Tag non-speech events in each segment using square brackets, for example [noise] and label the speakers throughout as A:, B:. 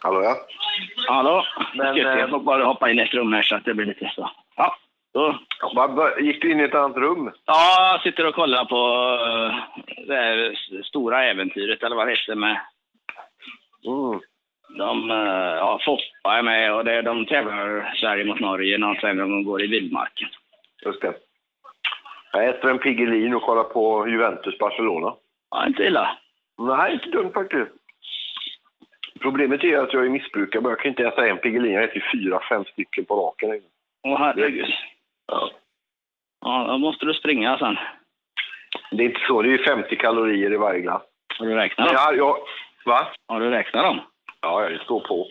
A: Hallå ja.
B: Hallå?
A: Men,
B: Men, jag
A: eh,
B: får bara hoppa in i ett rum här så att det blir lite så. Ja, då.
A: Vad bör- Gick du in i ett annat rum?
B: ja jag sitter och kollar på eh, det här s- stora äventyret eller vad det heter med
A: Mm.
B: de, eh, ja, Foppa är med och det, de tävlar Sverige mot Norge när de tävlar om de går i vildmarken.
A: Just det. Jag äter en Piggelin och kollar på Juventus-Barcelona.
B: Ja, inte illa.
A: Nej, inte dumt faktiskt. Problemet är att jag är missbrukare, men jag kan inte äta en Piggelin. Jag äter fyra, fem stycken på raken.
B: Åh herregud.
A: Ja.
B: Ja, då måste du springa sen.
A: Det är inte så. Det är 50 kalorier i varje glass.
B: Har du räknat
A: Men
B: dem?
A: jag, jag, va?
B: Har du räknat dem?
A: Ja, det står på.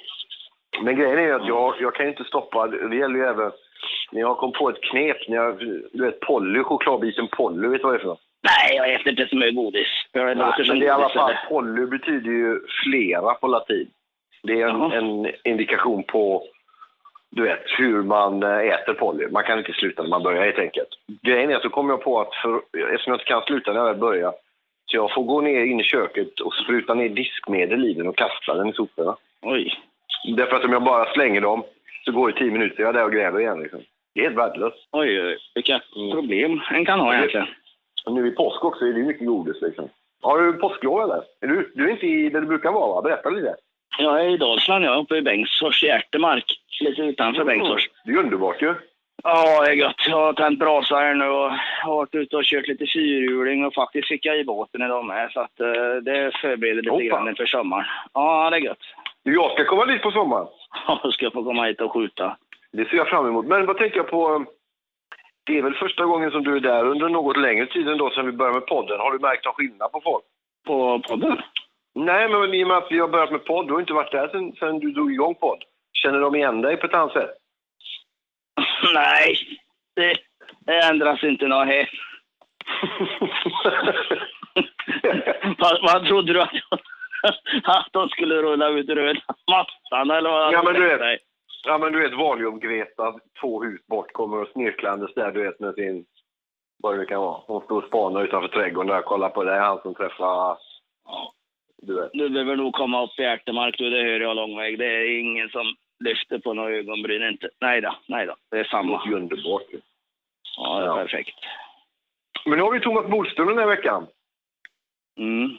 A: Men grejen är ju att jag, jag kan ju inte stoppa. Det gäller ju även... När jag kom på ett knep, när jag, du vet Polly, chokladbiten Polly, vet du vad det är för något?
B: Nej, jag äter inte så mycket godis. Jag låter
A: Nej,
B: som
A: men det är i alla
B: godis,
A: fall,
B: eller?
A: polly betyder ju flera på latin. Det är en,
B: Jaha.
A: en indikation på, du vet, hur man eh, äter polly. Man kan inte sluta när man börjar helt enkelt. Grejen är att så kom jag på att, för, eftersom jag inte kan sluta när jag väl börjar, så jag får gå ner in i köket och spruta ner diskmedel i den och kasta den i soporna.
B: Oj.
A: Därför att om jag bara slänger dem så går det tio minuter, jag är där och gräver igen liksom. Det är helt värdelöst.
B: Oj, oj, vilka
A: Mm.
B: problem en kan ha egentligen.
A: Och nu i påsk också är det ju mycket godis liksom. Har du påsklov eller? Är du, du är inte i där du brukar vara va? Berätta lite.
B: Jag är i Dalsland, jag är uppe i Bengtsfors, i Ärtemark. Lite utanför Bengtsfors.
A: Det är underbart ju.
B: Ja, det är gött. Jag har tänt brasa här nu och har varit ute och kört lite fyrhjuling och faktiskt fick jag i båten idag med. Så att eh, det förbereder lite
A: Hoppa.
B: grann inför sommaren. Ja, det är gött. [laughs]
A: Jag ska komma dit på sommaren.
B: Ja, då ska jag få komma hit och skjuta.
A: Det ser jag fram emot. Men vad tänker jag på? um, Det är väl första gången som du är där under något längre tid ändå sedan vi började med podden. Har du märkt någon skillnad på folk?
B: På podden? [laughs]
A: Nej, men i och med att vi har börjat med podd, du har inte varit där sedan, sedan du drog igång podd. Känner de igen dig på ett annat sätt?
B: Nej, det, det ändras inte något här. [laughs] vad, vad trodde du att, [laughs] att de skulle rulla ut röda mattan eller vad?
A: Ja, men du vet.
B: Nej.
A: [laughs] ja, men du vet Valium-Greta, två hus bort, kommer och snirklandes där, du vet, med sin... Vad det nu kan vara. Hon står och spanar utanför trädgården där och kollar på det. Det är han som träffar... Du vet.
B: Du behöver nog komma upp i Ärtemark, du, det hör jag lång väg. Det är ingen som lyfter på några ögonbryn inte. Nej då, nej då. Det är
A: Det
B: samma.
A: låter ju underbart ju.
B: Ja, det är
A: Ja.
B: perfekt.
A: Men nu har vi Thomas Bodström den här veckan.
B: Mm.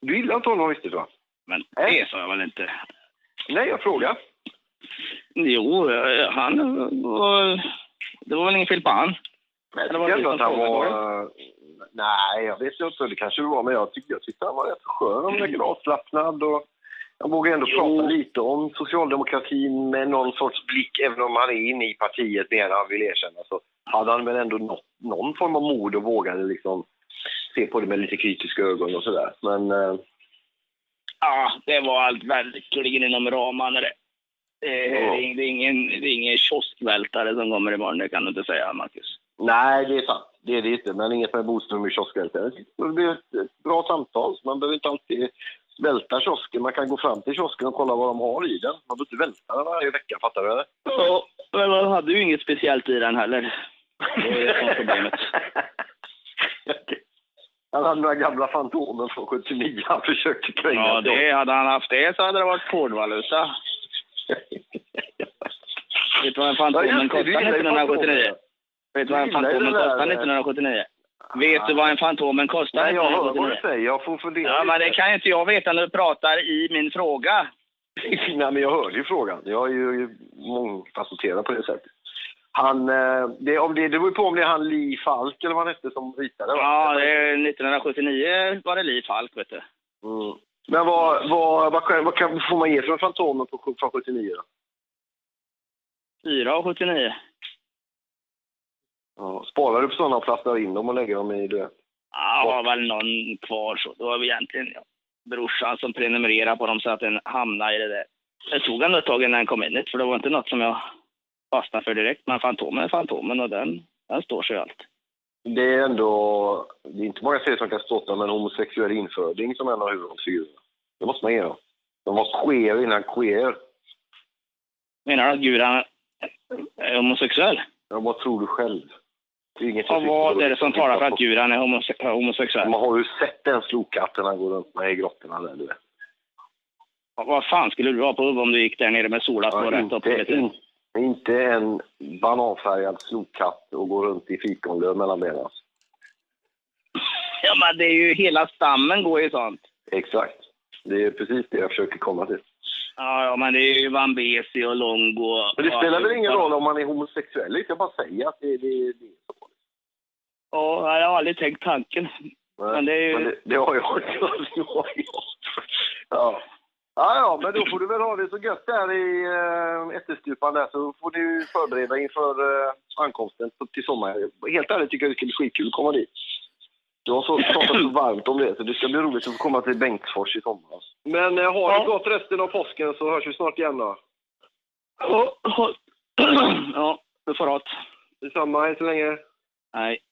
A: Du gillar inte honom riktigt va?
B: Men
A: Nej.
B: det sa jag väl inte.
A: Nej, jag frågar.
B: Jo, eh, han var... Det var väl inget fel på han?
A: Men
B: Eller var
A: jag
B: det du
A: tycker ändå
B: som
A: att han
B: frågade,
A: var... eh, Nej, jag vet inte. Det kanske det var, men jag tyckte, jag tyckte han var rätt skön. Han verkade avslappnad och han vågade ändå
B: Jo.
A: prata lite om socialdemokratin med någon sorts blick, även om han är inne i partiet mer än han vill erkänna. Så hade han väl ändå nått, någon form av mod och vågade liksom se på det med lite kritiska ögon och sådär. Men eh,
B: Ja, det var allt verkligen inom ramarna det. Det är,
A: Ja.
B: det är ingen, det är ingen kioskvältare som kommer imorgon, det kan du inte säga Marcus.
A: nej, det är sant. Det är det inte. Men inget med Boström i kioskvältaren. Det blir ett ett bra samtal. Så man behöver inte alltid välta kiosken. Man kan gå fram till kiosken och kolla vad de har i den. Man behöver inte välta den varje vecka, fattar du? Eller?
B: Ja, men man hade ju inget speciellt i den heller. Det är det som är problemet.
A: Han hade några gamla Fantomen från 79 han försökte kränga
B: Ja,
A: sig åt.
B: det, hade han haft det så hade det varit hårdvaluta. Vet du vad en
A: Ja, just
B: Fantomen
A: det, du
B: kostade
A: gillar ju
B: 1979?
A: Fantomen.
B: Vet du vad
A: Du gillar
B: en
A: ju
B: Fantomen
A: det där,
B: kostade
A: eh,
B: 1979? Vet du vad en Fantomen kostade
A: Nej, jag hör vad
B: 1979?
A: du säger. Jag får fundera
B: Ja, men det
A: lite.
B: kan ju inte jag veta när du pratar i min fråga.
A: Nej, men jag hörde ju frågan. Jag är ju mångfacetterad på det sättet. Han, eh, det, om det, det var ju på om det är han Li Falk eller vad han hette som ritade. va?
B: Ja, det, är 1979 var det Liv Falk, vet du.
A: Mm. Men vad, vad, vad, kan- vad kan, får man ge för en Fantomen på, från 79 då?
B: 4 och 79.
A: Ja, sparar du på sådana och plastar in dem och lägger dem i... Du vet.
B: Ja, var väl någon kvar så. Det var väl egentligen ja, brorsan som prenumererade på dem så att den hamnade i det där. Det tog ändå ett tag innan den kom in för det var inte något som jag fastnade för direkt. Men Fantomen är Fantomen och den, den står sig allt.
A: Det är ändå... Det är inte många serier som kan ståta med en homosexuell inföding som en av huvudrollsfigurerna. Det måste man ge dem. De var queer innan queer.
B: Menar du att Gud han är homosexuell?
A: Ja, vad tror du själv? Det är inget jag
B: Och vad
A: tycker.
B: är det som talar för att Gud han är homose- homosexuell?
A: Man har ju sett den slokatten han går runt med i grottorna där, du vet.
B: Vad fan skulle du ha på huvudet om du gick där nere med sola på
A: Ja,
B: rätt upp i
A: inte,
B: lite?
A: in, inte en bananfärgad slokhatt och gå runt i fikonlöv mellan benen.
B: Ja, men det är ju hela stammen går ju sånt.
A: Exakt. Det är precis det jag försöker komma till.
B: Ja, ja men det är ju Vambesi och Longo. och-
A: Men det
B: och
A: spelar väl
B: allihopa.
A: ingen roll om man är homosexuell? Jag bara säger att det, det, det
B: Ja, jag har aldrig tänkt tanken. Men det är ju-
A: men det, det har jag också. Det har jag. Ja. Ja, ja, men då får du väl ha det så gött där i äh, ättestupan där så får du förbereda inför eh, ankomsten på- till sommaren. Helt ärligt tycker jag det ska bli skitkul att komma dit. Du har så pratat så varmt om det så det ska bli roligt att få komma till Bengtsfors i sommar. Men eh, har
B: Ja.
A: det gått resten av påsken så hörs vi snart igen då.
B: [clears throat] Ja, ja. Ja, du får ha det.
A: Detsamma, hej så länge.
B: Nej.